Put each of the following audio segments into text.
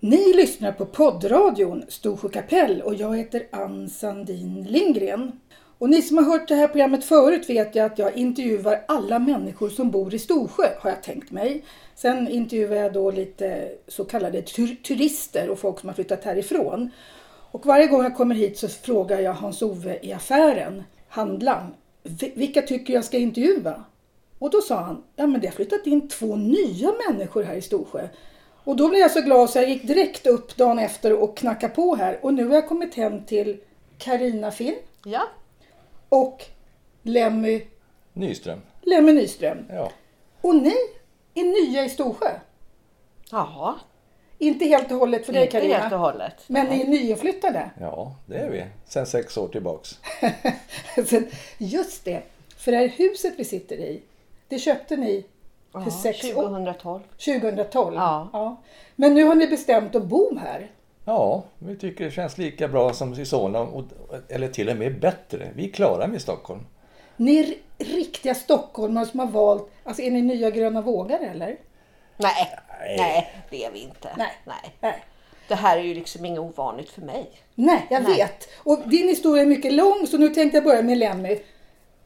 Ni lyssnar på poddradion Storsjö kapell och jag heter Ann Sandin Lindgren. Och ni som har hört det här programmet förut vet jag att jag intervjuar alla människor som bor i Storsjö, har jag tänkt mig. Sen intervjuar jag då lite så kallade tur- turister och folk som har flyttat härifrån. Och varje gång jag kommer hit så frågar jag Hans-Ove i affären, handlaren, "Vi- vilka tycker jag ska intervjua? Och då sa han, ja men det har flyttat in två nya människor här i Storsjö. Och då blev jag så glad så jag gick direkt upp dagen efter och knackade på här. Och nu har jag kommit hem till Karina Finn Ja. och Lemmy, Nyström. Lemmy Nyström. Ja. Och ni är nya i Storsjö. Jaha, Inte helt och hållet för dig inte helt och Carina. hållet. Men ni är nyinflyttade. ja, det är vi. Sen sex år tillbaks. Sen- Just det, för det här huset vi sitter i, det köpte ni för Ja, sex år, 2012. 2012. Ja. Men nu har ni bestämt att bo här. Ja, vi tycker det känns lika bra som i Solna, och, eller till och med bättre. Vi klarar med Stockholm. Ni är r- riktiga stockholmare som har valt, alltså är ni nya gröna vågare eller? Nej, Nej. nej, det är vi inte. Nej. nej. Nej. Det här är ju liksom inget ovanligt för mig. Nej, jag Nej. vet. Och din historia är mycket lång så nu tänkte jag börja med Lemmy.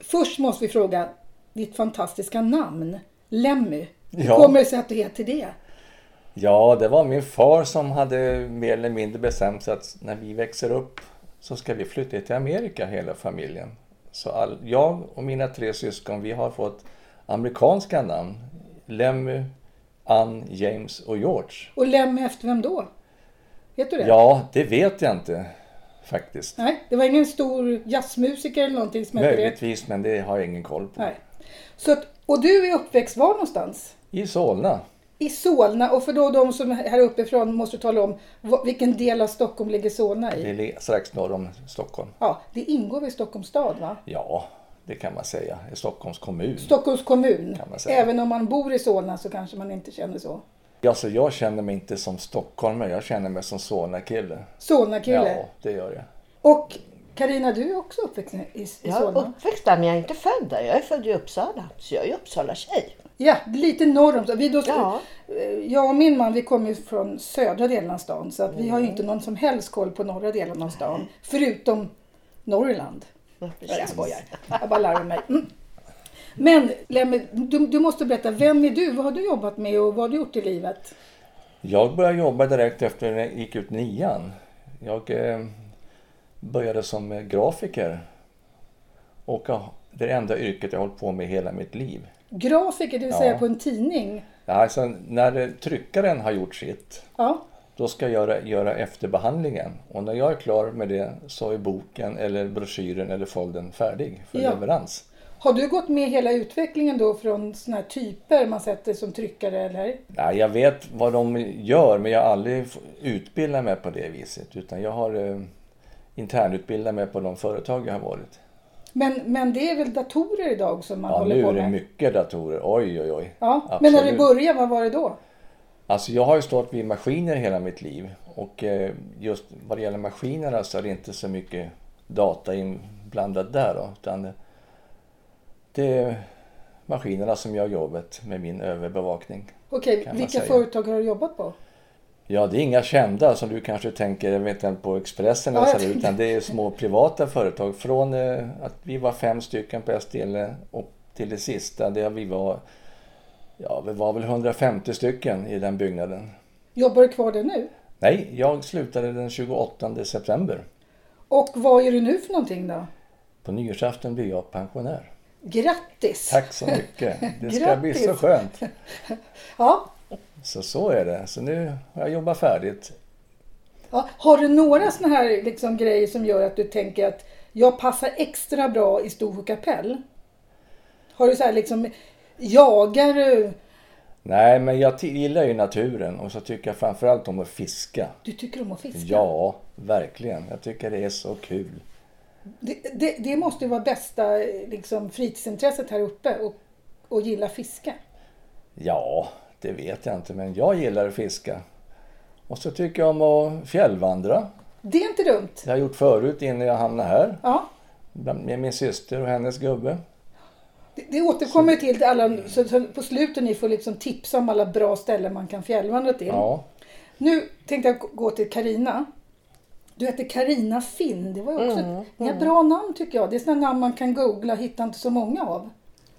Först måste vi fråga ditt fantastiska namn, Lemmy. Hur Ja. kommer det sig att du heter det? Ja, det var min far som hade mer eller mindre bestämt sig att när vi växer upp så ska vi flytta till Amerika hela familjen. Så all, jag och mina tre syskon, vi har fått amerikanska namn. Lemmy, Ann, James och George. Och Lemmy efter vem då? Vet du det? Ja, det vet jag inte faktiskt. Nej, det var ingen stor jazzmusiker eller någonting som hette det? Möjligtvis, men det har jag ingen koll på. Nej. Så att, och du är uppväxt var någonstans? I Solna. I Solna. Och för då de som är här uppifrån måste du tala om vad- vilken del av Stockholm ligger Solna i? Det är strax norr om Stockholm. Ja, det ingår väl i Stockholms stad va? Ja, det kan man säga. I Stockholms kommun. Stockholms kommun. Kan man säga. Även om man bor i Solna så kanske man inte känner så. Alltså, jag känner mig inte som stockholmare, jag känner mig som Solna-kille. Solna-kille. Ja, det gör jag. Och Karina, du är också uppväxt i, i Jag är Solna? uppväxt där men jag är inte född där. Jag är född i Uppsala. Så jag är Uppsala tjej. Ja, lite norr om vi då, Ja. Eh, Jag och min man vi kommer ju från södra delen av stan så att vi har ju inte någon som helst koll på norra delen av stan. Förutom Norrland. Nej, Jag skojar. Jag bara larvar mig. Mm. Men Lemmy, du, du måste berätta, vem är du? Vad har du jobbat med och vad har du gjort i livet? Jag började jobba direkt efter jag gick ut nian. Jag eh, började som eh, grafiker. Och jag- det är det enda yrket jag har hållit på med hela mitt liv. Grafiker, det vill säga Ja. på en tidning. Alltså, när eh, tryckaren har gjort sitt, Ja. Då ska jag göra, göra efterbehandlingen och när jag är klar med det så är boken eller broschyren eller foldern färdig för Ja. leverans. Har du gått med hela utvecklingen då från sådana här typer man sätter som tryckare eller? Nej, jag vet vad de gör men jag har aldrig f- utbildat mig på det viset utan jag har eh, internutbildat mig på de företag jag har varit. Men, men det är väl datorer idag som man Ja, håller nu på är med? det mycket datorer. Oj, oj, oj. Ja, men när du Absolut. började, vad var det då? Alltså jag har ju stått vid maskiner hela mitt liv och eh, just vad det gäller maskinerna så är det inte så mycket data inblandat där då, utan det är maskinerna som gör jobbet med min överbevakning. Okej, Kan man vilka säga. företag har du jobbat på? Ja, det är inga kända som du kanske tänker, jag vet inte, på Expressen Ja, eller jag så, tänkte- utan det är små privata företag. Från eh, att vi var fem stycken på STL och till det sista där vi var, ja vi var väl 150 stycken i den byggnaden. Jobbar du kvar där nu? Nej, jag slutade den 28 september. Och vad är du nu för någonting då? På nyårsafton blir jag pensionär. Grattis! Tack så mycket. Det ska Grattis. bli så skönt. Ja, Så så är det. Så nu har jag jobbat färdigt. ja. Har du några sådana här liksom grejer som gör att du tänker att jag passar extra bra i Storsjö kapell? Har du så här liksom, jagar du? Nej, men jag t- gillar ju naturen och så tycker jag framförallt om att fiska. Du tycker om att fiska? Ja, verkligen. Jag tycker det är så kul. Det, det, det måste ju vara bästa eh, liksom, fritidsintresset här uppe och, och gilla fiske. Ja, det vet jag inte, men jag gillar att fiska. Och så tycker jag om att fjällvandra. Det är inte dumt. Det har jag gjort förut innan jag hamnade här. Ja, Med min syster och hennes Mm. gubbe. det, det återkommer ju till alla, så, så på slutet ni får liksom tipsa om alla bra ställen man kan fjällvandra till. Ja, Nu tänkte jag gå till Karina. Du heter Karina Finn. Det var ju också Mm, ett, ni har bra namn tycker jag. Det är sådana namn man kan googla och hitta inte så många av.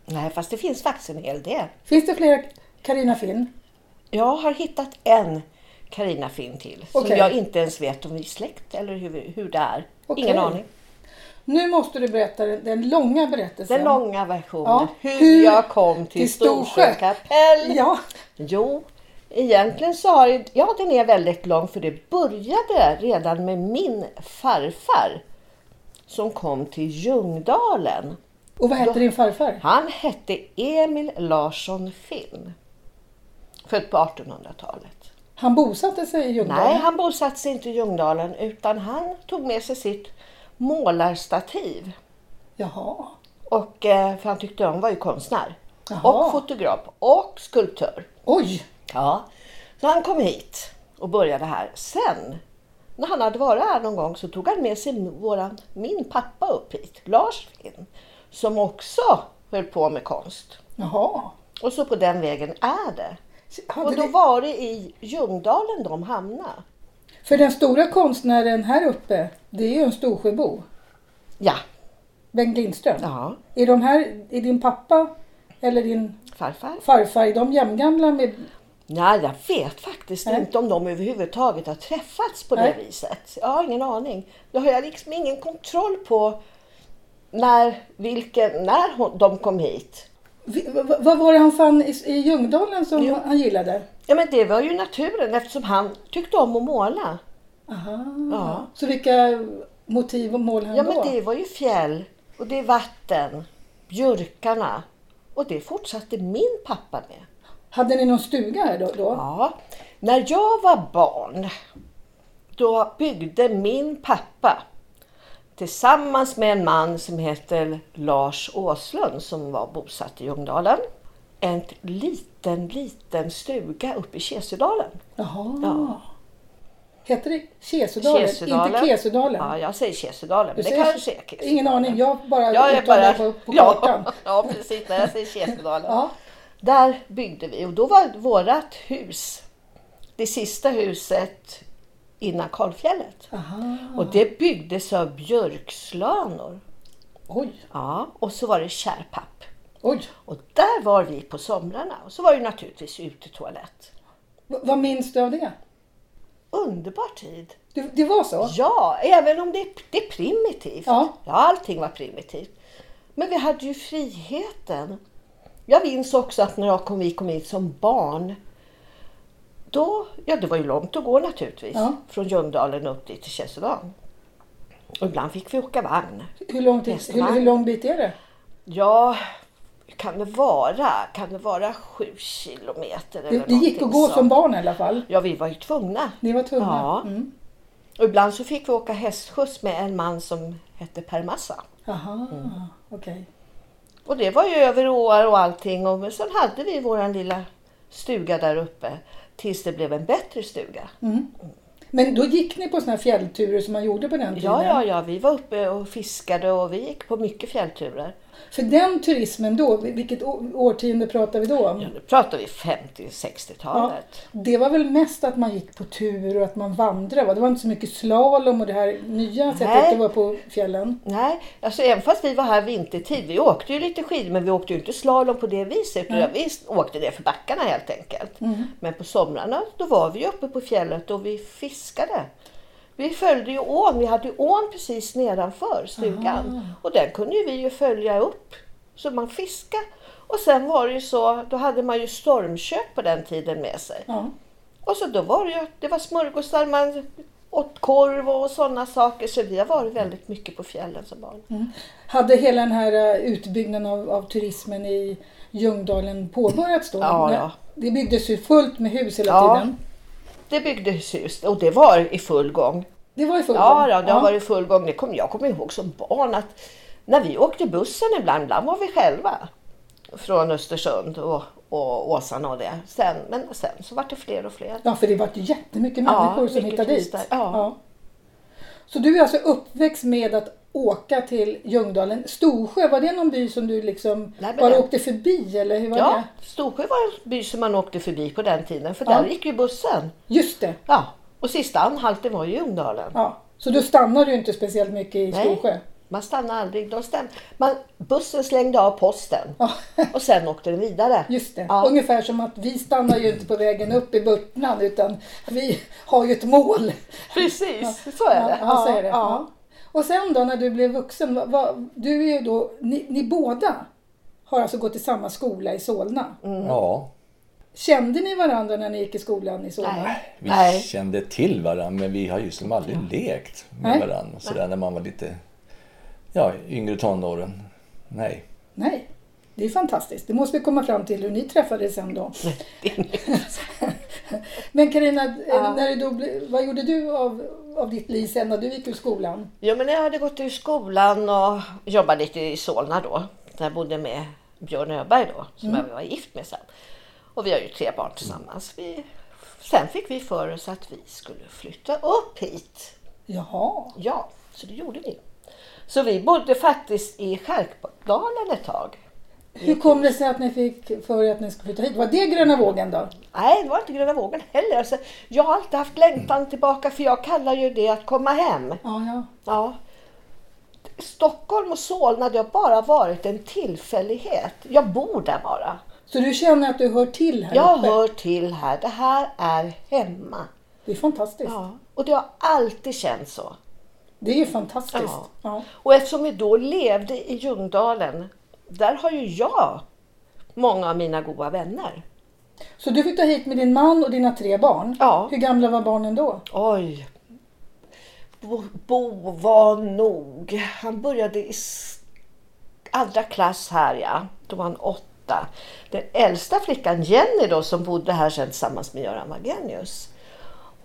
Nej, fast det finns faktiskt en hel del. Finns det flera Karina Finn? Jag har hittat en Carina Finn till som Okej. jag inte ens vet om vi är släkt eller hur, hur det är. Okej. Ingen aning. Nu måste du berätta den, den långa berättelsen. Den långa versionen. Ja. Hur, Hur jag kom till, till Storsjö. Storsjö kapell. Ja, Jo, egentligen så har det- ja, den är väldigt lång för det började redan med min farfar som kom till Ljungdalen. och vad hette din farfar? Han hette Emil Larsson Finn. Född på 1800-talet. Han bosatte sig i Ljungdalen? Nej, han bosatte sig inte i Ljungdalen utan han tog med sig sitt målarstativ. Jaha. Och, eh, för han tyckte han var ju konstnär. Jaha. Och fotograf och skulptör. Oj! Ja, så han kom hit och började här. Sen, när han hade varit här någon gång, så tog han med sig våran, min pappa upp hit, Lars Finn, som också höll på med konst. Jaha. Och så på den vägen är det. Hade Och då ni- var det i Ljungdalen de hamnade. För den stora konstnären här uppe, det är ju en Storsjöbo. Ja, Bengt Lindström. ja, Är, de här, är din pappa eller din farfar. farfar, är de jämngamla med... Nej, jag vet faktiskt Nej. inte om de överhuvudtaget har träffats på Nej. det viset. Jag har ingen aning. Då har jag liksom ingen kontroll på när, vilken, när hon, de kom hit. Vi- v- v- Vad var det han fann i, i Ljungdalen som han gillade? Ja, men det var ju naturen eftersom han tyckte om att måla. Aha. Ja. Så vilka motiv och mål han Ja, då? men det var ju fjäll och det är vatten, björkarna. Och det fortsatte min pappa med. Hade ni någon stuga här då? då? Ja, när jag var barn då byggde min pappa tillsammans med en man som heter Lars Åslund som var bosatt i Ljungdalen en liten, liten stuga uppe i Kesedalen. Jaha. Ja. Heter det Kesedalen? Inte Kesedalen? Ja, jag säger Kesedalen, men det säger- kanske är Kesedalen. Ingen aning, jag bara Jag är uttalar bara... på, på kartan. ja, ja, precis. När jag säger Kesedalen. Ja. Där byggde vi och då var vårt hus det sista huset innan kalfjället. Aha. Och det byggdes av björkslönor. Oj, Ja, och så var det kärpapp. oj. Och där var vi på somrarna. Och så var det naturligtvis utetoalett. V- vad minns du av det? Underbar tid! Det, det var så? Ja, även om det, det är primitivt. Ja. allting var primitivt. Men vi hade ju friheten. Jag minns också att när jag kom, vi kom hit som barn. Då, ja det var ju långt att gå naturligtvis. Ja. Från Ljungdalen upp dit till Kesedalen. Och ibland fick vi åka vagn. Hur lång, tid, Nästan. hur, hur lång bit är det? Ja, kan det vara, kan det vara sju kilometer eller Det, det gick att någonting gå sånt? som barn i alla fall. Ja, vi var ju tvungna. Ni var tvungna. Ja. Mm. Och ibland så fick vi åka hästskjuts med en man som hette Per Massa. Aha, Mm. okej. Och det var ju över åar och allting. Och men sen hade vi vår lilla stuga där uppe tills det blev en bättre stuga. Mm. Men då gick ni på såna här fjällturer som man gjorde på den tiden? Ja, ja, ja, vi var uppe och fiskade och vi gick på mycket fjällturer. För den turismen då, vil- vilket å- årtionde pratar vi då om? Ja, nu pratar vi 50-60-talet. Det var väl mest att man gick på tur och att man vandrade va? Det var inte så mycket slalom och det här nya sättet Nej. att vara på fjällen. Nej, alltså även fast vi var här vintertid, vi åkte ju lite skidor men vi åkte ju inte slalom på det viset. Utan Vi åkte ner för backarna helt enkelt. Men på somrarna då var vi ju uppe på fjället och vi fiskade. Vi följde ju ån, vi hade ju ån precis nedanför stugan. Och den kunde ju vi ju följa upp. Så man fiskade. Och sen var det ju så, då hade man ju stormkök på den tiden med sig. Ja. Och så då var det ju, det var smörgåsar, man åt korv och sådana saker. Så vi har varit väldigt mycket på fjällen som barn. Mm. Hade hela den här eh, utbyggnaden av, av turismen i Ljungdalen påbörjats då? Ja, När- ja. Det byggdes ju fullt med hus hela Ja. tiden. Det byggdes hus och det var i full gång. Det var i full Ja, gång. då, det har varit i full gång. Det kom, jag kommer ihåg som barn att när vi åkte bussen ibland, ibland var vi själva från Östersund och, och Åsarna och det. Sen, men sen så var det fler och fler. ja, för det var ju jättemycket Ja, människor som mycket hittade dit. turister, ja. Så du är alltså uppväxt med att åka till Ljungdalen. Storsjö, var det någon by som du liksom Nej, men bara den- åkte förbi eller hur var Ja, det? Storsjö var en by som man åkte förbi på den tiden för Ja. där gick ju bussen. Just det. Ja, och sista anhalten var ju Ljungdalen. Ja. Så då stannar du inte speciellt mycket i Storsjö? man stannade aldrig. De stäm... man, bussen slängde av posten Ja, och sen åkte den vidare. just det. Ja. Ungefär som att vi stannar ju inte på vägen upp i Burtnan utan vi har ju ett mål. Precis, så är det. Ja, så är det. Ja. Ja. Och sen då när du blev vuxen, vad, vad, du är ju då, ni, ni båda har alltså gått i samma skola i Solna. Mm. Ja, Kände ni varandra när ni gick i skolan i Solna? Nej. vi Nej. kände till varandra men vi har ju som aldrig lekt med Nej. varandra sådär när man var lite ja, yngre tonåren. Nej. Nej. Det är fantastiskt. Det måste vi komma fram till hur ni träffades sen då. Men Carina, eh, när det då ble, vad gjorde du av, av ditt liv sen när du gick ur skolan? Jo, men jag hade gått ur skolan och jobbat lite i Solna då. Där jag bodde med Björn Öberg då, som Mm. jag var gift med sen. Och vi har ju tre barn tillsammans. Vi, sen fick vi för oss att vi skulle flytta upp hit. Jaha, Ja, så det gjorde vi. Så vi bodde faktiskt i Skärkdalen ett tag. hur kom det sig att ni fick för er att ni skulle flytta hit? Var det gröna vågen då? Nej, det var inte Gröna vågen heller. Alltså, jag har alltid haft längtan tillbaka för jag kallar ju det att komma hem. Ja, ja. Ja. Stockholm och Solna, det har bara varit en tillfällighet. Jag bor där bara. Så du känner att du hör till här Jag uppe? hör till här. Det här är hemma. Det är fantastiskt. Ja. Och det har alltid känts så. Det är ju fantastiskt. Ja. Ja. Och eftersom vi då levde i Ljungdalen, där har ju jag många av mina goda vänner. Så du flyttade hit med din man och dina tre barn. Ja. Hur gamla var barnen då? Oj. Bo, Bo var nog... Han började i s- andra klass här, ja. Då var han åtta. Den äldsta flickan, Jenny då, som bodde här sen tillsammans med Göran Wagenius.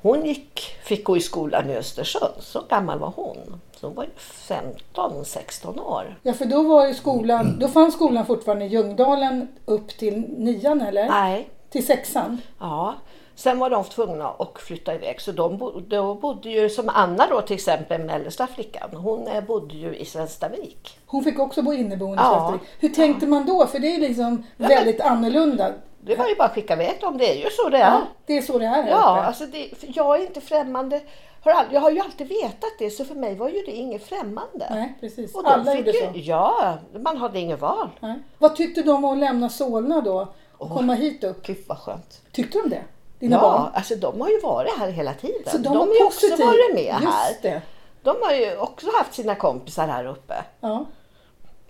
Hon gick, fick gå i skolan i Östersund. Så gammal var hon. Så hon var ju 15, 16 år. Ja, för då var ju skolan, då fanns skolan fortfarande i Ljungdalen upp till nian eller? Nej, Till sexan? Ja, sen var de tvungna att flytta iväg så de bo, då bodde ju som Anna då till exempel, mellersta flickan, hon eh, bodde ju i Svenstavik. Hon fick också bo inneboende Ja. ja. Hur tänkte man då? För det är liksom väldigt annorlunda. Det var ju bara att skicka iväg dem, det är ju så det är. Ja, Ja, det är så det är här uppe. alltså det, för jag är inte främmande. Har aldrig, jag har ju alltid vetat det så för mig var ju det inget främmande. Nej, precis. Och de Alla fick gjorde ju, så. Ja, man hade inget val. Nej. Vad tyckte de om att lämna Solna då och komma hit upp? Gud vad skönt. Tyckte de det? Dina Ja, barn? alltså de har ju varit här hela tiden. Så de, de var har ju också positiva. varit med här. Just det. De har ju också haft sina kompisar här uppe. Ja.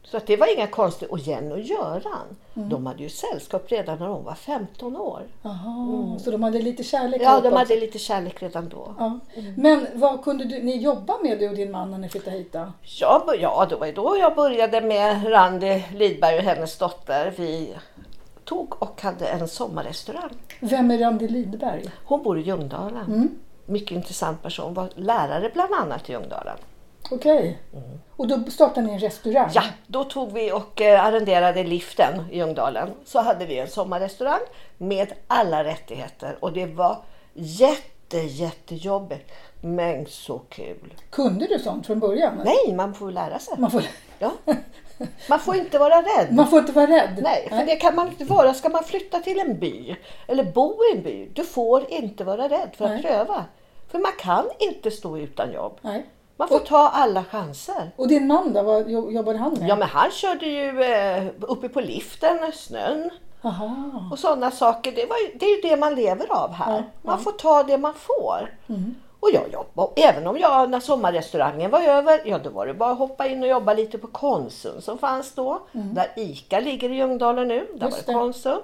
Så att det var inga konstigt. Och Jenny och Göran, Mm. de hade ju sällskap redan när de var 15 år. Jaha, så de hade lite kärlek Mm. Ja, åt de dem. hade Mm. lite kärlek redan då. Ja. Men vad kunde du, ni jobba med, du och din man, när ni flyttade hit då? Jag, bör- ja, det var ju då jag började med Randi Lidberg och hennes dotter. Vi tog och hade en sommarrestaurang. Vem är Randi Lidberg? Hon bor i Ljungdalen. Mm. Mycket intressant person. Var lärare bland annat i Ljungdalen. Mm. Okej. Och då startade ni en restaurang? Mm. Ja, då tog vi och eh, arrenderade liften i Ljungdalen. Så hade vi en sommarrestaurang med alla rättigheter och det var jätte, jättejobbigt. Men så kul. Kunde du sånt från början? Nej, man får ju lära sig. Man får, Ja. Man får inte vara rädd. man får inte vara rädd? Nej, för det kan man inte vara. Ska man flytta till en by eller bo i en by, du får inte vara rädd för att Nej. pröva. För man kan inte stå utan jobb. Nej. Man får ta alla chanser. Och din man då, vad jo- jobbade han med? Ja, men han körde ju eh, uppe på liften, snön. Aha. Och sådana saker, det, var, ju- det är ju det man lever av här. man får ta det man får. Och jag jobbade, även om jag när sommarrestaurangen var över, ja då var det bara att hoppa in och jobba lite på Konsum som fanns då. Där ICA ligger i Ljungdalen nu, där Just var det. det Konsum.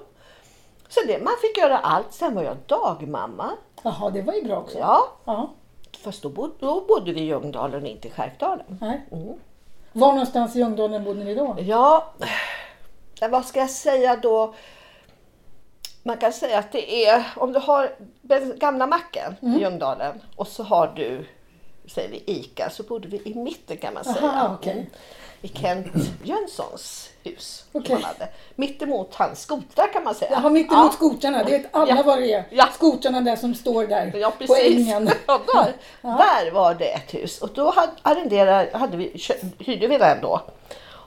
Så det, man fick göra allt. Sen var jag dagmamma. Jaha, det var ju bra också. Ja, Ja, fast då bodde, då bodde vi i Ljungdalen, inte i Skärkdalen. nej. Var någonstans i Ljungdalen bodde ni då? Ja, men vad ska jag säga då? Man kan säga att Mm. det är, om du har den gamla macken i Ljungdalen och så har du säger vi ICA, så bodde vi i mitten kan man Aha, säga. okej. I Kent Jönssons hus. Okej. Som han hade. Mittemot hans skotrar kan man säga. Jaha, mittemot Ja. skotrarna. Det vet alla Ja. vad det är. Ja. Skotrarna där som står där Ja, på precis. ängen. Ja, där, där var det ett hus. Och då hade, arrenderade, hade vi, kö- hyrde vi den då.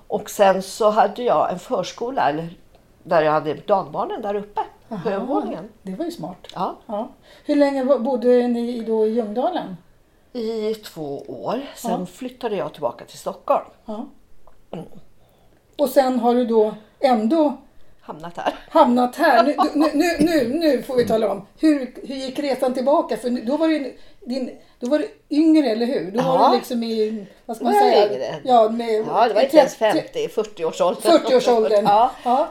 Och sen så hade jag en förskola eller, där jag hade dagbarnen där uppe på Jaha, övervåningen. Det var ju smart. Ja, Ja. Hur länge var- bodde ni då i Ljungdalen? I två år. Sen Ja. flyttade jag tillbaka till Stockholm. Ja. Mm. Och sen har du då ändå Hamnat här. hamnat här. Nu, nu, nu, nu, nu får vi tala om hur, hur gick resan tillbaka? För nu- då var du, din, då var du yngre, eller hur? Då var Ja. du liksom i, vad ska man Då var jag säga? yngre. Ja, med, Ja, det var inte ens 50, 40-årsåldern. 40-årsåldern. Ja. Ja.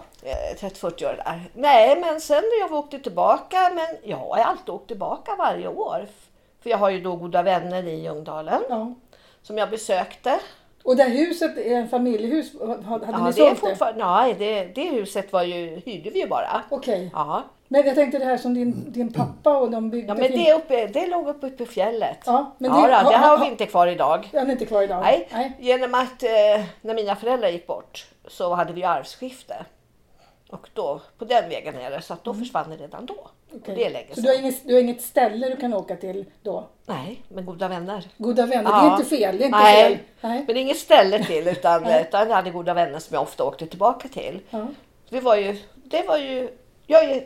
30-40 år där. Nej, men sen när jag åkte tillbaka, men jag har alltid åkt tillbaka varje år. För jag har ju då goda vänner i Ljungdalen ja. som jag besökte. Och det här huset är en familjehus. Hade Ja, ni det, är sålt det? fortfarande, nej, det, det huset var ju, hyrde vi ju bara. Okej. Ja, Men jag tänkte det här som din, din pappa och de byggde. ja men fin- det, är uppe, det låg uppe på fjället. Ja, men det, det- ja, då, det ha- har ha- vi inte kvar idag. Den är inte kvar idag? Nej, genom att eh, när mina föräldrar gick bort så hade vi arvsskifte. Och då, på den vägen är det, så att då försvann det redan då. Mm. okej. Och det är länge Så sedan. du har, inget, du har inget ställe du kan åka till då? Nej, men goda vänner. Goda vänner, det är Ja. inte fel. Det är inte Nej, fel. Nej. men inget ställe till utan, Nej. utan jag hade goda vänner som jag ofta åkte tillbaka till. Ja. Vi var ju, det var ju, jag är,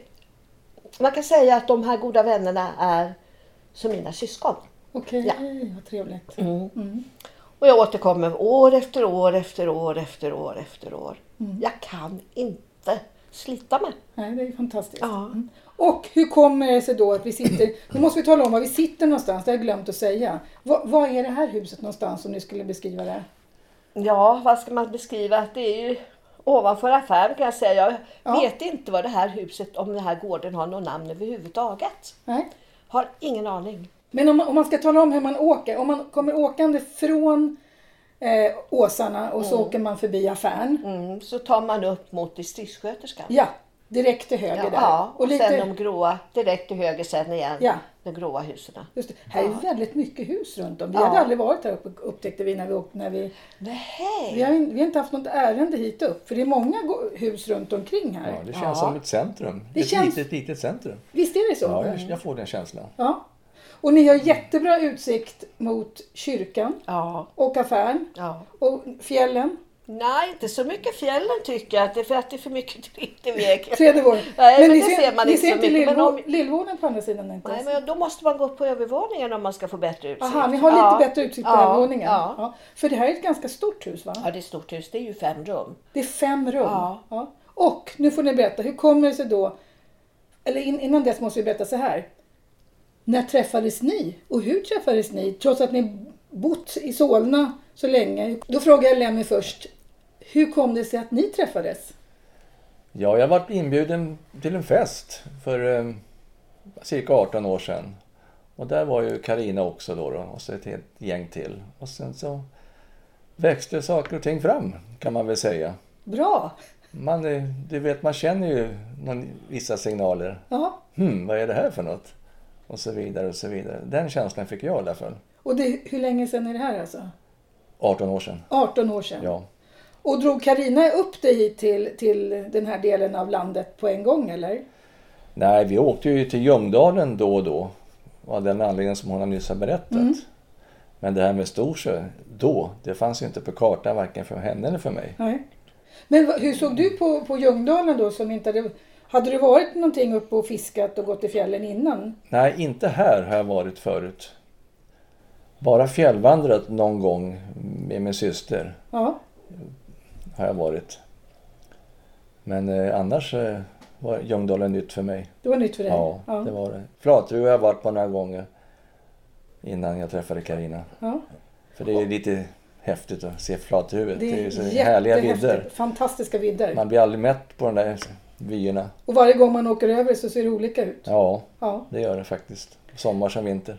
man kan säga att de här goda vännerna är som mina syskon. Okej, Ja. Mm. vad trevligt. Och jag återkommer år efter år efter år efter år efter år. Jag kan inte slita mig. Nej, det är ju fantastiskt. Ja. Mm. Och hur kommer det sig då att vi sitter... Nu måste vi tala om var vi sitter någonstans, det har jag glömt att säga. Va, vad är det här huset någonstans om ni skulle beskriva det? Ja, vad ska man beskriva? Att det är ju ovanför affären kan jag säga. Jag Ja. vet inte vad det här huset, om den här gården har något namn överhuvudtaget. Nej. Har ingen aning. Men om, man- om man ska tala om hur man åker, om man kommer åkande från eh, Åsarna och så åker man förbi affären. Mm, så tar man upp mot distriktssköterskan. Ja, direkt till höger Ja, där. ja, och, och lite, sen de gråa, direkt till höger sen igen. Ja. De gråa husen. just det, här är väldigt mycket hus runt om. Vi Ja. hade aldrig varit här uppe upptäckte vi när vi åkte. När vi, vi, Nej. har, in- vi har inte haft något ärende hit upp. För det är många gå- hus runt omkring här. Ja, det känns Ja. som ett centrum. Det ett känns- litet, litet centrum. Visst är det så? Ja, jag, jag får den känslan. Ja. Och ni har jättebra utsikt mot kyrkan Ja, och affären ja. och fjällen. Nej, inte så mycket fjällen tycker jag. att Det är för att det är för mycket drift i vägen. Tredje våningen. Nej, men det ser man ni inte ser så inte mycket, men lillvå- om- lillvåningen på andra sidan inte. Nej, men då måste man gå upp på övervåningen om man ska få bättre utsikt. Aha, ni har lite Ja. bättre utsikt på Ja, övervåningen. Ja. Ja. För det här är ett ganska stort hus va? ja, det är ett stort hus. Det är ju fem rum. Det är fem rum. Ja. Ja. Och nu får ni berätta, hur kommer det sig då, eller in, innan dess måste vi berätta så här. När träffades ni och hur träffades ni? Trots att ni bott i Solna så länge. Då frågar jag Lemmy först, hur kom det sig att ni träffades? Ja, jag varit inbjuden till en fest för eh, cirka 18 år sedan. Och där var ju Karina också då, då och så ett helt gäng till. Och sen så växte saker och ting fram kan man väl säga. Bra! Man, eh, du vet, man känner ju någon, vissa signaler. Ja. Hmm, vad är det här för något? Och så vidare och så vidare. Den känslan fick jag i alla fall. Och det, hur länge sedan är det här alltså? 18 år sedan. 18 år sedan. Ja. Och drog Karina upp dig hit till, till den här delen av landet på en gång eller? Nej, vi åkte ju till Ljungdalen då och då. Av den anledningen som hon har nyss har berättat. Men det här med Storsjö, då, det fanns ju inte på kartan varken för henne eller för mig. Nej. Men vad- hur såg du på, på Ljungdalen då som inte hade... Hade du varit någonting uppe och fiskat och gått i fjällen innan? Nej, inte här har jag varit förut. Bara fjällvandrat någon gång med min syster Ja. har jag varit. Men eh, annars eh, var Ljungdalen nytt för mig. Det var nytt för dig? Ja, ja. det var det. Flatruva har jag varit på några gånger innan jag träffade Karina. Ja. För det är ju lite häftigt att se flathuvudet. Det Det är ju så är härliga vidder. jättehäftigt. Fantastiska vidder. Man blir aldrig mätt på de där vyerna. Och varje gång man åker över så ser det olika ut. Ja, Ja. det gör det faktiskt. Sommar som vinter.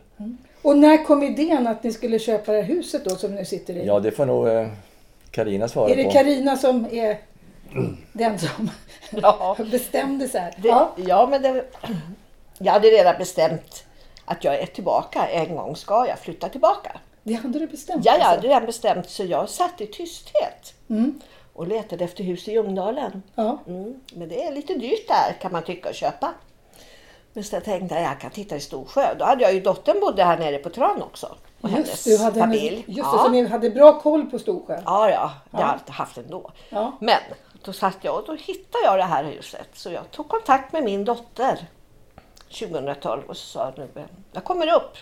Och när kom idén att ni skulle köpa det här huset då som ni sitter i? Ja, det får nog eh, Karina svara är det på. Karina som är den som Ja. bestämde så här? Det, ja. Ja. men det, jag hade redan bestämt att jag är tillbaka. En gång ska jag flytta tillbaka. Det hade du bestämt? Ja, jag alltså. hade redan bestämt så jag satt i tysthet Mm. och letade efter hus i Ljungdalen. ja. Mm, men det är lite dyrt där kan man tycka att köpa. Men så jag tänkte jag jag kan titta i Storsjö. Då hade jag ju dottern bodde här nere på Tran också. Och Just, hennes du hade en, familj. just det, ja. så ni hade bra koll på Storsjön? ja, ja, det har jag alltid haft ändå. Ja. Men då satt jag och då hittade jag det här huset. Så jag tog kontakt med min dotter 2012 och så sa nu, jag kommer upp.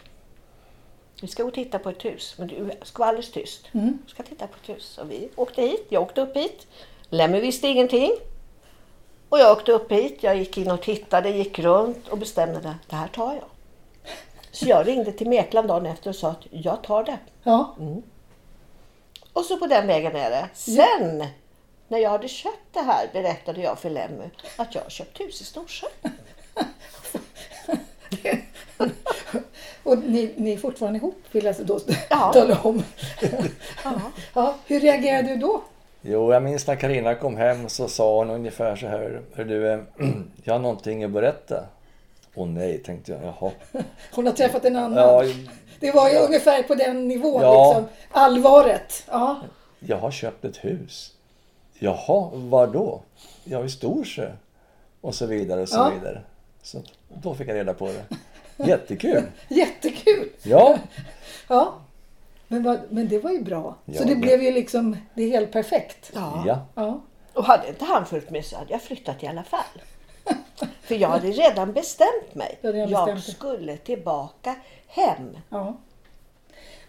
Vi ska gå och titta på ett hus, men du ska vara alldeles tyst. Mm. Vi ska titta på ett hus. Och vi åkte hit, jag åkte upp hit. Lemmy visste ingenting. Och jag åkte upp hit, jag gick in och tittade, gick runt och bestämde att det här tar jag. Så jag ringde till mäklaren dagen efter och sa att jag tar det. Ja. Och så på den vägen är det. Sen när jag hade köpt det här berättade jag för Lemmy att jag har köpt hus i Storsjö. Och ni, ni är fortfarande ihop vill jag då Ja. tala om. Ja. ja. Hur reagerade du då? Jo, jag minns när Karina kom hem så sa hon ungefär så här. Hör du, eh, jag har någonting att berätta. Åh nej, tänkte jag. Jaha. Hon har träffat en annan. Ja, Det var ju ungefär på den nivån, Ja. liksom. allvaret. Ja. jag har köpt ett hus. Jaha, var då? Ja, i Storsjö. Och så vidare och så Ja. vidare. Så då fick jag reda på det. Jättekul! Jättekul! Ja, Ja. Men, vad, men det var ju bra. Ja, Så det men- blev ju liksom, det är helt perfekt. Ja. ja. Ja. Och hade inte han följt med så hade jag flyttat i alla fall. För jag hade redan bestämt mig. Du hade redan Jag bestämt dig. skulle tillbaka hem. ja.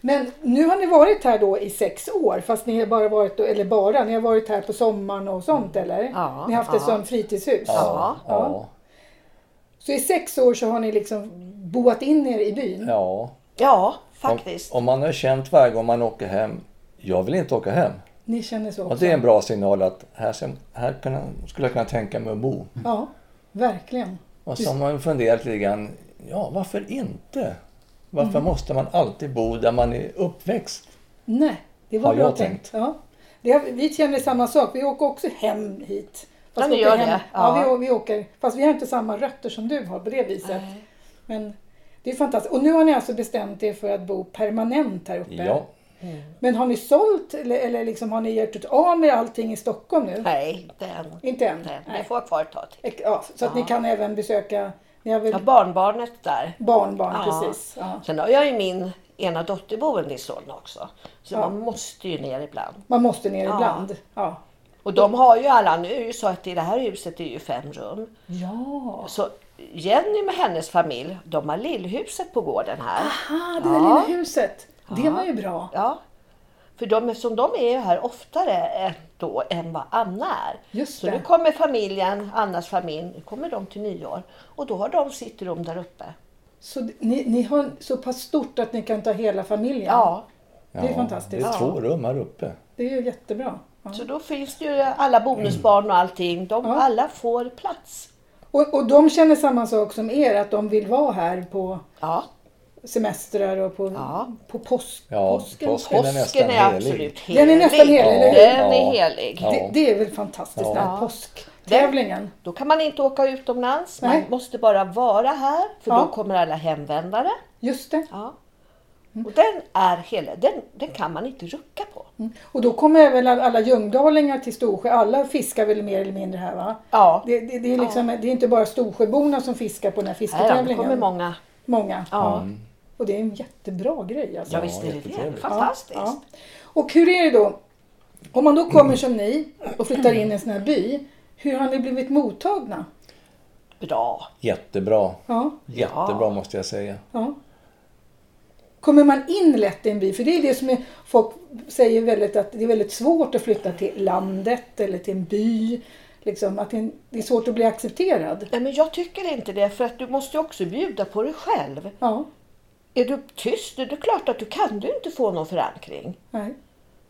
Men nu har ni varit här då i sex år, fast ni har bara varit, eller bara, ni har varit här på sommaren och sånt eller? Mm. Ja, ni har haft det ja. som fritidshus? Ja. ja. Så i sex år så har ni liksom boat in er i byn? ja. Ja, Om, faktiskt. om man har känt varje gång man åker hem, jag vill inte åka hem. Ni känner så? Och också? det är en bra signal att här, ska- här kunna, skulle jag kunna tänka mig att bo. Ja, verkligen. Och så har man funderat lite grann, ja varför inte? Mm. Varför måste man alltid bo där man är uppväxt? Nej, det var Har bra jag tänkt. Ja. Det har, vi känner samma sak. Vi åker också hem hit. Ja, ni vi åker gör hem. det. Ja. Ja. vi, å- vi åker. Fast vi har inte samma rötter som du har på det viset. Men det är fantastiskt. Och nu har ni alltså bestämt er för att bo permanent här uppe. Ja, Men har ni sålt eller, eller liksom, har ni gjort av med allting i Stockholm nu? Nej, inte än. Inte än? Inte än. Nej. Det får jag kvar ett tag till. Ek- Ja, så att ni kan även besöka, ni har väl Ja, barnbarnet där. barnbarn Ja. precis? Ja. Sen har jag ju min ena dotter boende i Solna också. Så man måste ju ner ibland. Man måste ner Ja. ibland. Ja. Och de har ju alla, nu är det ju så att i det här huset är ju fem rum. ja. Så Jenny med hennes familj, de har lillhuset på gården här. Ah, det där Ja. lilla huset. Det var ju bra. Ja. För de, som de är ju här oftare än, då, än vad Anna är. Just så det. nu kommer familjen, Annas familj, nu kommer de till nyår. Och då har de sitt rum där uppe. Så d- ni, ni har så pass stort att ni kan ta hela familjen? Ja. ja. är fantastiskt. Det är två rum här uppe. Det är ju jättebra. Ja. Så då finns det ju alla bonusbarn och allting. De, Ja. Alla får plats. Och, och de känner samma sak som er, att de vill vara här på Ja. semestrar och på, Ja. på påsk, Ja, påsken? påsken. Den är Påsken nästan är, helig. absolut helig. Den är nästan helig, eller hur? Den är Ja. helig. Ja. Det, det är väl fantastiskt, den här Ja. påsktävlingen. Då kan man inte åka utomlands. Man Nej. måste bara vara här för Ja. då kommer alla hemvändare. Just det. Ja. Och den är helig. Den, den kan man inte rucka på. Mm. Och då kommer väl alla- alla ljungdalingar till Storsjö. Alla fiskar väl mer eller mindre här va? Ja. Det, det, det, är, liksom, det är inte bara Storsjöborna som fiskar på den här Nej, det fisketävlingen. kommer många. Många. Ja, Och det är en jättebra grej alltså. ja visst är det det. jättetrevligt. Fantastiskt. Ja. Och hur är det då? Om man då kommer som ni och flyttar in i en sån här by, hur har ni blivit mottagna? Bra. Jättebra. Ja, Jättebra Ja. måste jag säga. ja. Kommer man in lätt i en by? För det är det som är, folk säger väldigt att det är väldigt svårt att flytta till landet eller till en by. Liksom, att det är- det är svårt att bli accepterad. Nej, men jag tycker inte det för att du måste ju också bjuda på dig själv. Ja, Är du tyst, är det klart att du kan du inte få någon förankring. nej.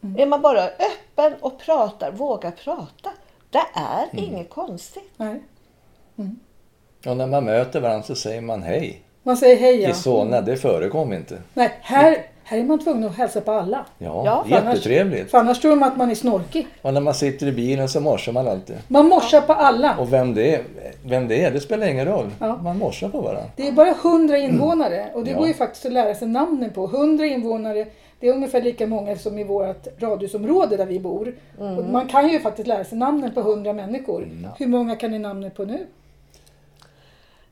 Mm. Är man bara öppen och pratar, vågar prata. Det är inget konstigt. nej. Och när man möter varandra så säger man hej. Man säger hej I ja. Solna, det förekom inte. Nej, här, här är man tvungen att hälsa på alla. Ja, Ja, för annars- jättetrevligt. För annars tror de att man är snorkig. Och när man sitter i bilen så morsar man alltid. Man morsar på alla. Och vem det är, vem det, är det spelar ingen roll. Ja. Man morsar på varandra. Det är bara 100 invånare och det Ja. går ju faktiskt att lära sig namnen på. 100 invånare Det är ungefär lika många som i vårt radhusområde där vi bor. Och man kan ju faktiskt lära sig namnen på 100 människor. Hur många kan ni namnet på nu?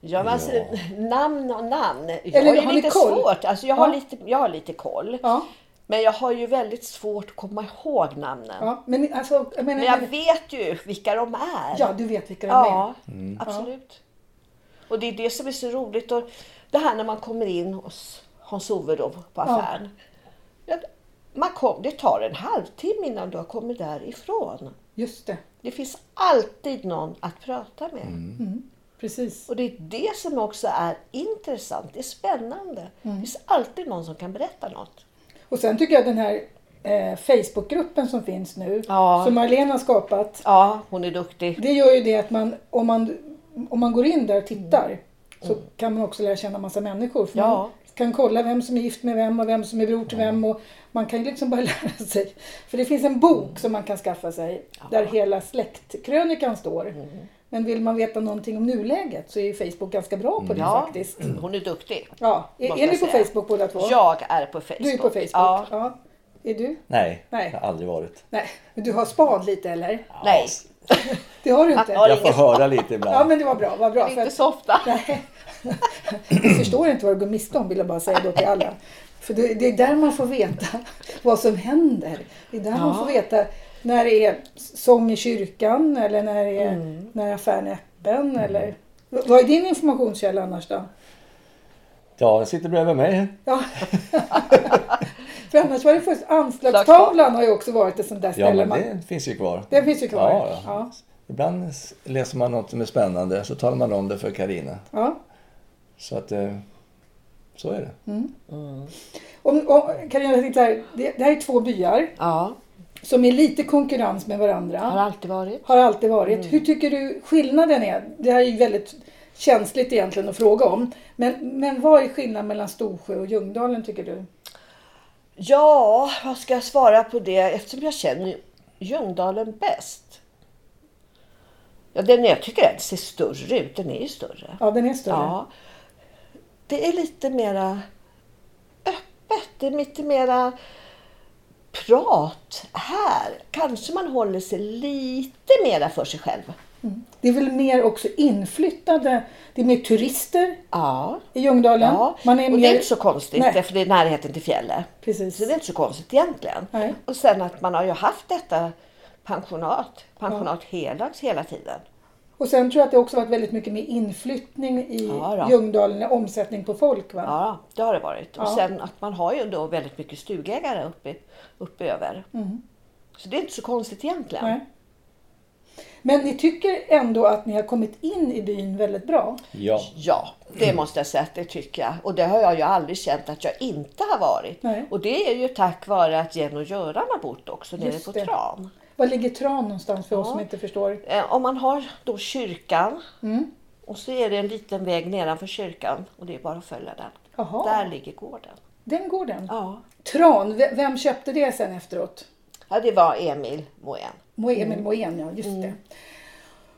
Ja, men alltså, namn och namn. Jag Eller har har ju ni lite koll? svårt. Alltså, jag, har Ja. lite, jag har lite koll. Ja. Men jag har ju väldigt svårt att komma ihåg namnen. ja. Men ni- alltså, jag menar, Men jag vet ju vilka de är. ja, du vet vilka de är. Ja, absolut. Och det är det som är så roligt. Och det här när man kommer in hos Hans-Ove då på affären. Ja. Man kom, det tar en halvtimme innan du har kommit därifrån. Just det, Det finns alltid någon att prata med. precis. Och det är det som också är intressant. Det är spännande. Det finns alltid någon som kan berätta något. Och sen tycker jag den här eh, Facebookgruppen som finns nu, Ja. som Marlene har skapat. Ja, hon är duktig. Det gör ju det att man, om man, om man går in där och tittar så kan man också lära känna massa människor. För Mm. Ja. Man kan kolla vem som är gift med vem och vem som är bror till vem. Och man kan ju liksom bara lära sig. För det finns en Mm. bok som man kan skaffa sig där hela släktkrönikan står. Mm. Men vill man veta någonting om nuläget så är ju Facebook ganska bra på det Mm. Ja. faktiskt. Hon är duktig. Ja. Är, Måste är jag ni på säga. Facebook båda två? Jag är på Facebook. Du är på Facebook? Ja. ja. Är du? Nej, Nej. jag har aldrig varit. Nej, men du har span lite eller? Nej, Det har du inte? Ja, det- Jag får höra lite ibland. Ja men det var bra, vad bra. för inte att- så ofta. Jag förstår inte vad du går miste om vill jag bara säga då till alla. För det, det är där man får veta vad som händer. Det är där man får veta när det är sång i kyrkan eller när, det är, Mm. när affären är öppen. Eller. V- Vad är din informationskälla annars då? Ja, den sitter bredvid mig. Ja. För annars var det först anslagstavlan har ju också varit ett sånt där Ja, ställe. men man, det finns ju kvar. Den finns ju kvar. Ja, ja. Ja. Ibland s- läser man något som är spännande så talar man om det för Karina. Ja. Så att eh, så är det. Om, om, Carina, jag tänkte så här, det, det här är två byar Ja, som är lite konkurrens med varandra. har alltid varit. har alltid varit. Mm. Hur tycker du skillnaden är? Det här är ju väldigt känsligt egentligen att fråga om. Men, men vad är skillnaden mellan Storsjö och Ljungdalen tycker du? Ja, vad ska jag svara på det eftersom jag känner Ljungdalen bäst? Ja, den jag tycker den ser större ut. Den är ju större. Ja, den är större. Ja. Det är lite mera öppet. Det är lite mera prat här. Kanske man håller sig lite mera för sig själv. Det är väl mer också inflyttade, det är mer turister Ja. i Ljungdalen. ja. Man är och det mer- är inte så konstigt Nej. därför det är närheten till fjället. Precis. Så det är inte så konstigt egentligen. Nej. Och sen att man har ju haft detta pensionat, pensionat helags hela tiden. Och sen tror jag att det också varit väldigt mycket mer inflyttning i Ja, då. Ljungdalen, omsättning på folk. Va? Ja, det har det varit. Och Ja. sen att man har ju då väldigt mycket stugägare uppe, uppe över. Så det är inte så konstigt egentligen. Mm. Nej. Men ni tycker ändå att ni har kommit in i byn väldigt bra? Ja. Ja, det måste jag säga att det tycker jag. Och det har jag ju aldrig känt att jag inte har varit. Nej. Och det är ju tack vare att Jenny och Göran har bott också nere Just på det. Tran. Var ligger Tran någonstans för oss Ja. som inte förstår? Eh, Om man har då kyrkan Mm. och så är det en liten väg nedanför kyrkan och det är bara att följa den. Jaha. Där ligger gården. Den går den? Ja. Tran, v- vem köpte det sen efteråt? ja, det var Emil Moen. Moen, Mm. Emil Moen, ja just det.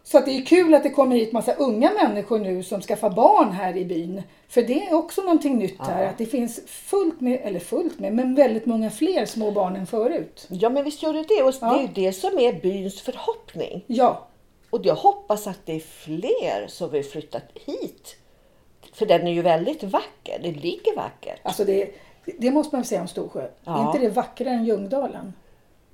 Så att det är kul att det kommer hit massa unga människor nu som skaffar barn här i byn. För det är också någonting nytt här, att det finns fullt med, eller fullt med, men väldigt många fler små barn än förut. Ja, men visst gör det det. Och det Ja. är ju det som är byns förhoppning. Ja, Och jag hoppas att det är fler som vill flytta hit. För den är ju väldigt vacker. Det ligger vackert. alltså det, det måste man väl säga om Storsjö. Ja. Är inte det vackrare än Ljungdalen?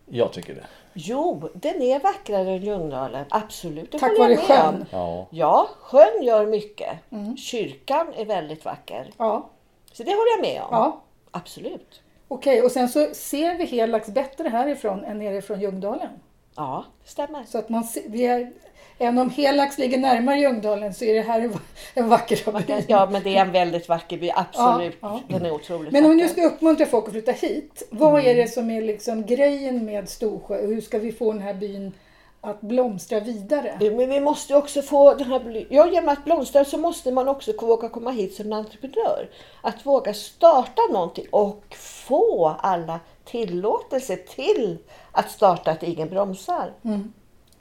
Jag tycker det. Jo, den är vackrare än Ljungdalen. Absolut. det Tack håller vare jag med sjön. om. Mm. Ja. Ja, sjön gör mycket. Kyrkan är väldigt vacker. Ja, Så det håller jag med om. ja. Absolut. Okej, och sen så ser vi Helax bättre härifrån än nerifrån Ljungdalen. Ja, det stämmer. Så att man ser, vi är, även om Helax ligger närmare Ljungdalen så är det här en, va- en vacker by. Ja, men det är en väldigt vacker by. Absolut. Ja, Den är Mm. otroligt Men om vi nu vacker. ska uppmuntra folk att flytta hit, vad är det som är liksom grejen med Storsjö och hur ska vi få den här byn att blomstra vidare? Jo, Eh, Men vi måste ju också få den här... bly- Ja, genom att blomstra så måste man också våga komma hit som en entreprenör. Att våga starta någonting och få alla tillåtelse till att starta att ingen bromsar.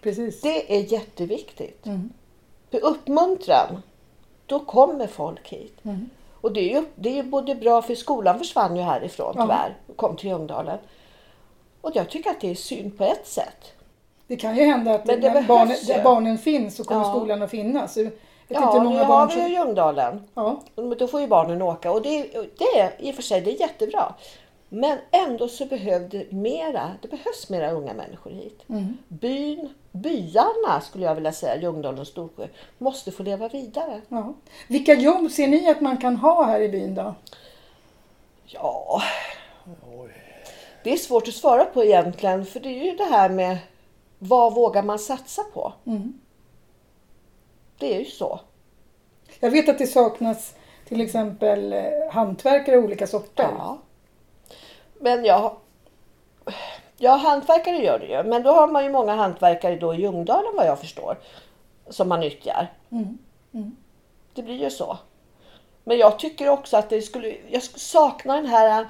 Precis. Det är Mm. Mm. jätteviktigt. För uppmuntran, då kommer folk hit. Och det är ju, det är ju både bra, för skolan försvann ju härifrån Ja. tyvärr, och kom till Ljungdalen. Och jag tycker att det är synd på ett sätt. Det kan ju hända att Men det när barnen, behövs ju. där barnen finns så kommer Ja. skolan att finnas. Jag vet Ja, inte hur många nu har barn vi ju som... Ljungdalen. Ja, Men då får ju barnen åka och det, det är i och för sig det är jättebra. Men ändå så behövde mera, det behövs mera unga människor hit. Byn, byarna skulle jag vilja säga, Ljungdalen och Storsjö, måste få leva vidare. ja. Vilka jobb ser ni att man kan ha här i byn då? Ja, det är svårt att svara på egentligen för det är ju det här med vad vågar man satsa på? Mm. Det är ju så. Jag vet att det saknas till exempel eh, hantverkare av olika sorter. Ja. Men jag... Ja, hantverkare gör det ju. Men då har man ju många hantverkare då i Ljungdalen vad jag förstår. Som man nyttjar. Det blir ju så. Men jag tycker också att det skulle... Jag sk- saknar den här...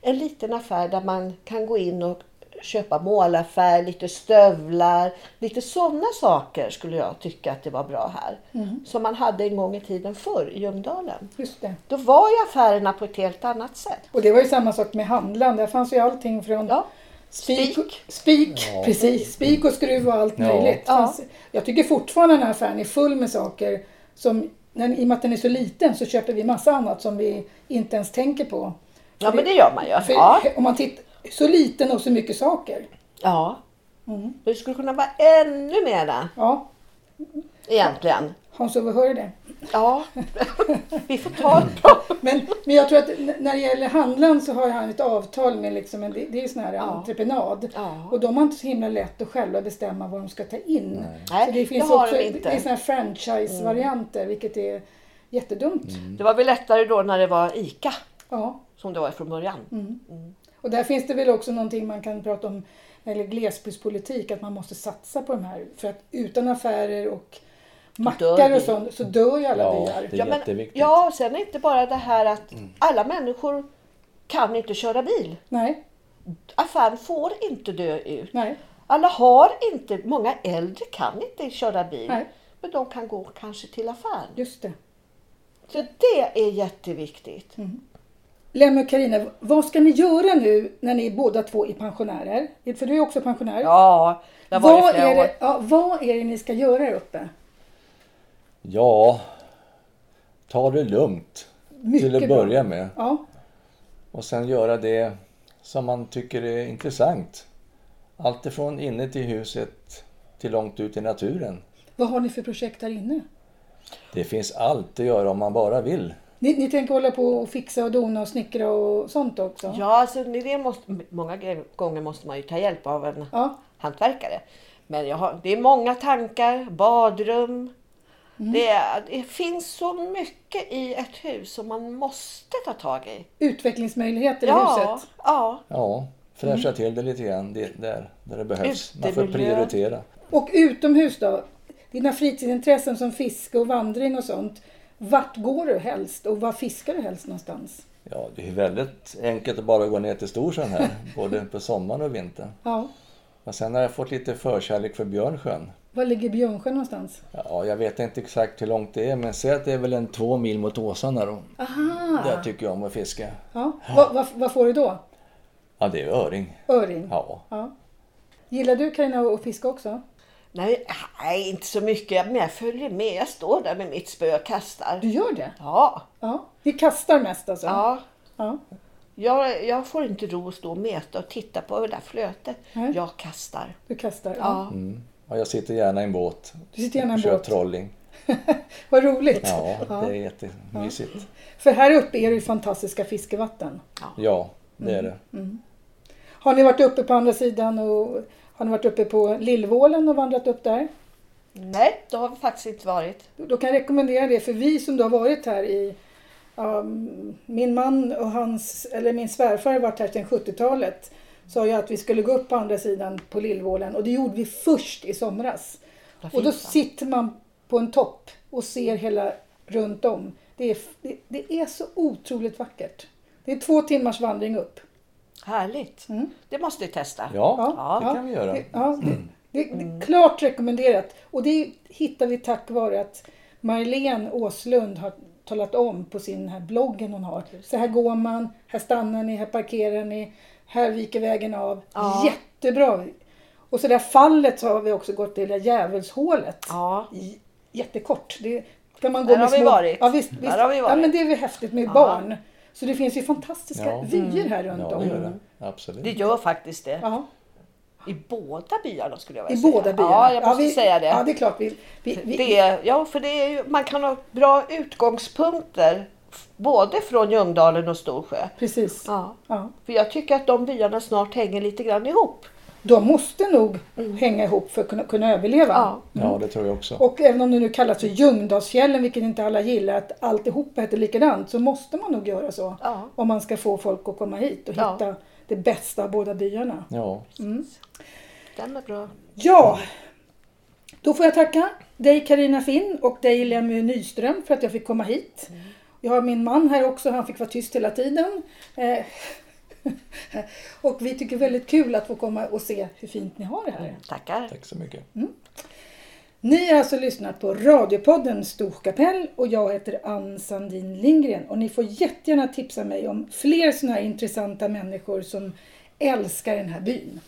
En liten affär där man kan gå in och köpa målarfärg, lite stövlar. Lite sådana saker skulle jag tycka att det var bra här. Som man hade en gång i tiden förr i Ljungdalen. Just det. Då var ju affärerna på ett helt annat sätt. Och det var ju samma sak med handlaren. Där fanns ju allting från Ja, spik, spik. spik, precis, spik och skruv och allt Ja. möjligt. Ja. Fanns, jag tycker fortfarande den här affären är full med saker som när, i och med att den är så liten så köper vi massa annat som vi inte ens tänker på. ja men det gör man ju. För Ja. om man tittar, så liten och så mycket saker. ja. Det skulle kunna vara ännu mera Ja, egentligen. Hans-Ove hör det. Ja, vi får ta ett bra. Men, men jag tror att n- när det gäller handlaren så har han ett avtal med liksom en, det det är ju sån här entreprenad. Ja. Och de har inte så himla lätt att själva bestämma vad de ska ta in. Nej, så det finns det har också de inte. Mm. det är såna här franchise-varianter vilket är jättedumt. Mm. Det var väl lättare då när det var ICA Ja. som det var från början. Och där finns det väl också någonting man kan prata om eller glesbygdspolitik, att man måste satsa på de här. För att utan affärer och mackar vi. och sånt så dör ju alla Ja, byar. det- är jätteviktigt. ja, sen är inte bara det här att alla människor kan inte köra bil. Nej, Affären får inte dö ut. nej. Alla har inte, många äldre kan inte köra bil. Nej. Men de kan gå kanske till affären. Just det. Så det är jätteviktigt. Lemmy och Karina, vad ska ni göra nu när ni båda två är pensionärer? För du är också pensionär. Ja, jag var i vad, flera är år. det, ja, vad är det ni ska göra här uppe? Ja, ta det lugnt Mycket till att bra. börja med. Ja, Och sen göra det som man tycker är intressant. Allt ifrån inne till huset till långt ut i naturen. vad har ni för projekt här inne? Det finns allt att göra om man bara vill. Ni, ni tänker hålla på och fixa och dona och snickra och sånt också? Ja, alltså, det det måste, många g- gånger måste man ju ta hjälp av en Ja. hantverkare. Men jag har, det är många tankar, badrum. Det, är- det finns så mycket i ett hus som man måste ta tag i. Utvecklingsmöjligheter i Ja, huset? ja, Ja, fräscha Mm. till det lite grann det, där, där det behövs. Man får Utemiljö. prioritera. Och utomhus då? Dina fritidsintressen som fiske och vandring och sånt. Vart går du helst och vad fiskar du helst någonstans? Ja, det är väldigt enkelt att bara gå ner till Storsjön här, både på sommaren och vintern. Ja. Och sen har jag fått lite förkärlek för Björnsjön. Var ligger Björnsjön någonstans? Ja, jag vet inte exakt hur långt det är, men säg att det är väl en två mil mot Åsarna då. Aha! Där tycker jag om att fiska. Ja. Vad vad- vad får du då? Ja, det är öring. Öring? Ja. Ja. Gillar du Carina att fiska också? nej, nej, inte så mycket. Men jag följer med. Jag står där med mitt spö och kastar. Du gör det? Ja, Ja. Ni kastar mest alltså? Mm. ja. Ja. Jag, jag får inte ro att stå och meta och titta på det där flötet. Nej. Jag kastar. Mm. Du kastar? Ja. Och Mm. jag sitter gärna i en båt. Du sitter gärna i en och kör båt. trolling. Vad roligt! Ja, det är jättemysigt. För här uppe är det ju fantastiska fiskevatten. Ja, det är Mm. det. Har ni varit uppe på andra sidan och har ni varit uppe på Lillvålen och vandrat upp där? Nej, det har vi faktiskt inte varit. Då kan jag rekommendera det för vi som då har varit här i ja, min man och hans, eller min svärfar har varit här sedan 70-talet sa ju att vi skulle gå upp på andra sidan på Lillvålen och det gjorde vi först i somras. Vad Och då fint, va? sitter man på en topp och ser hela runt om. Det är, det, det är så otroligt vackert. Det är två timmars vandring upp. Härligt. Mm. Det måste vi testa. Ja, Ja. det kan vi göra. Det, ja, det, Mm. det, det är klart rekommenderat. Och det hittar vi tack vare att Marlene Åslund har talat om på sin här bloggen hon har. Så här går man, här stannar ni, här parkerar ni, här viker vägen av. Ja. Jättebra! Och så det här fallet så har vi också gått till det där djävulshålet. Ja. J- Jättekort. Det kan man gå Där med har vi små... varit. Ja, visst, visst. Där har vi Ja, varit. men det är väl häftigt med Ja. barn. Så det finns ju fantastiska Ja. Mm. vyer här runt Ja, om. det gör det. Det Absolut. gör faktiskt det. Ja, I båda byarna skulle jag I vilja säga. båda byarna. Ja, jag måste vi, säga det. Ja, det är klart. Vi, vi, vi, Det är, ja, för det är ju, man kan ha bra utgångspunkter f- både från Ljungdalen och Storsjö. Precis. Ja. Ja. För jag tycker att de byarna snart hänger lite grann ihop. De måste nog hänga ihop för att kunna, kunna överleva. Mm. Ja. Ja, det tror jag också. Och även om det nu kallas för Ljungdalsfjällen, vilket inte alla gillar, att alltihop heter likadant, så måste man nog göra så. Ja. Om man ska få folk att komma hit och Ja. hitta det bästa av båda byarna. Ja, Den är bra. Ja, då får jag tacka dig Karina Finn och dig Lemmy Nyström för att jag fick komma hit. Jag har min man här också, han fick vara tyst hela tiden. Eh, och vi tycker väldigt kul att få komma och se hur fint ni har det här. Tackar. tack så mycket. Ni har alltså lyssnat på radiopodden Storkapell och jag heter Ann Sandin Lindgren och ni får jättegärna tipsa mig om fler sådana här intressanta människor som älskar den här byn.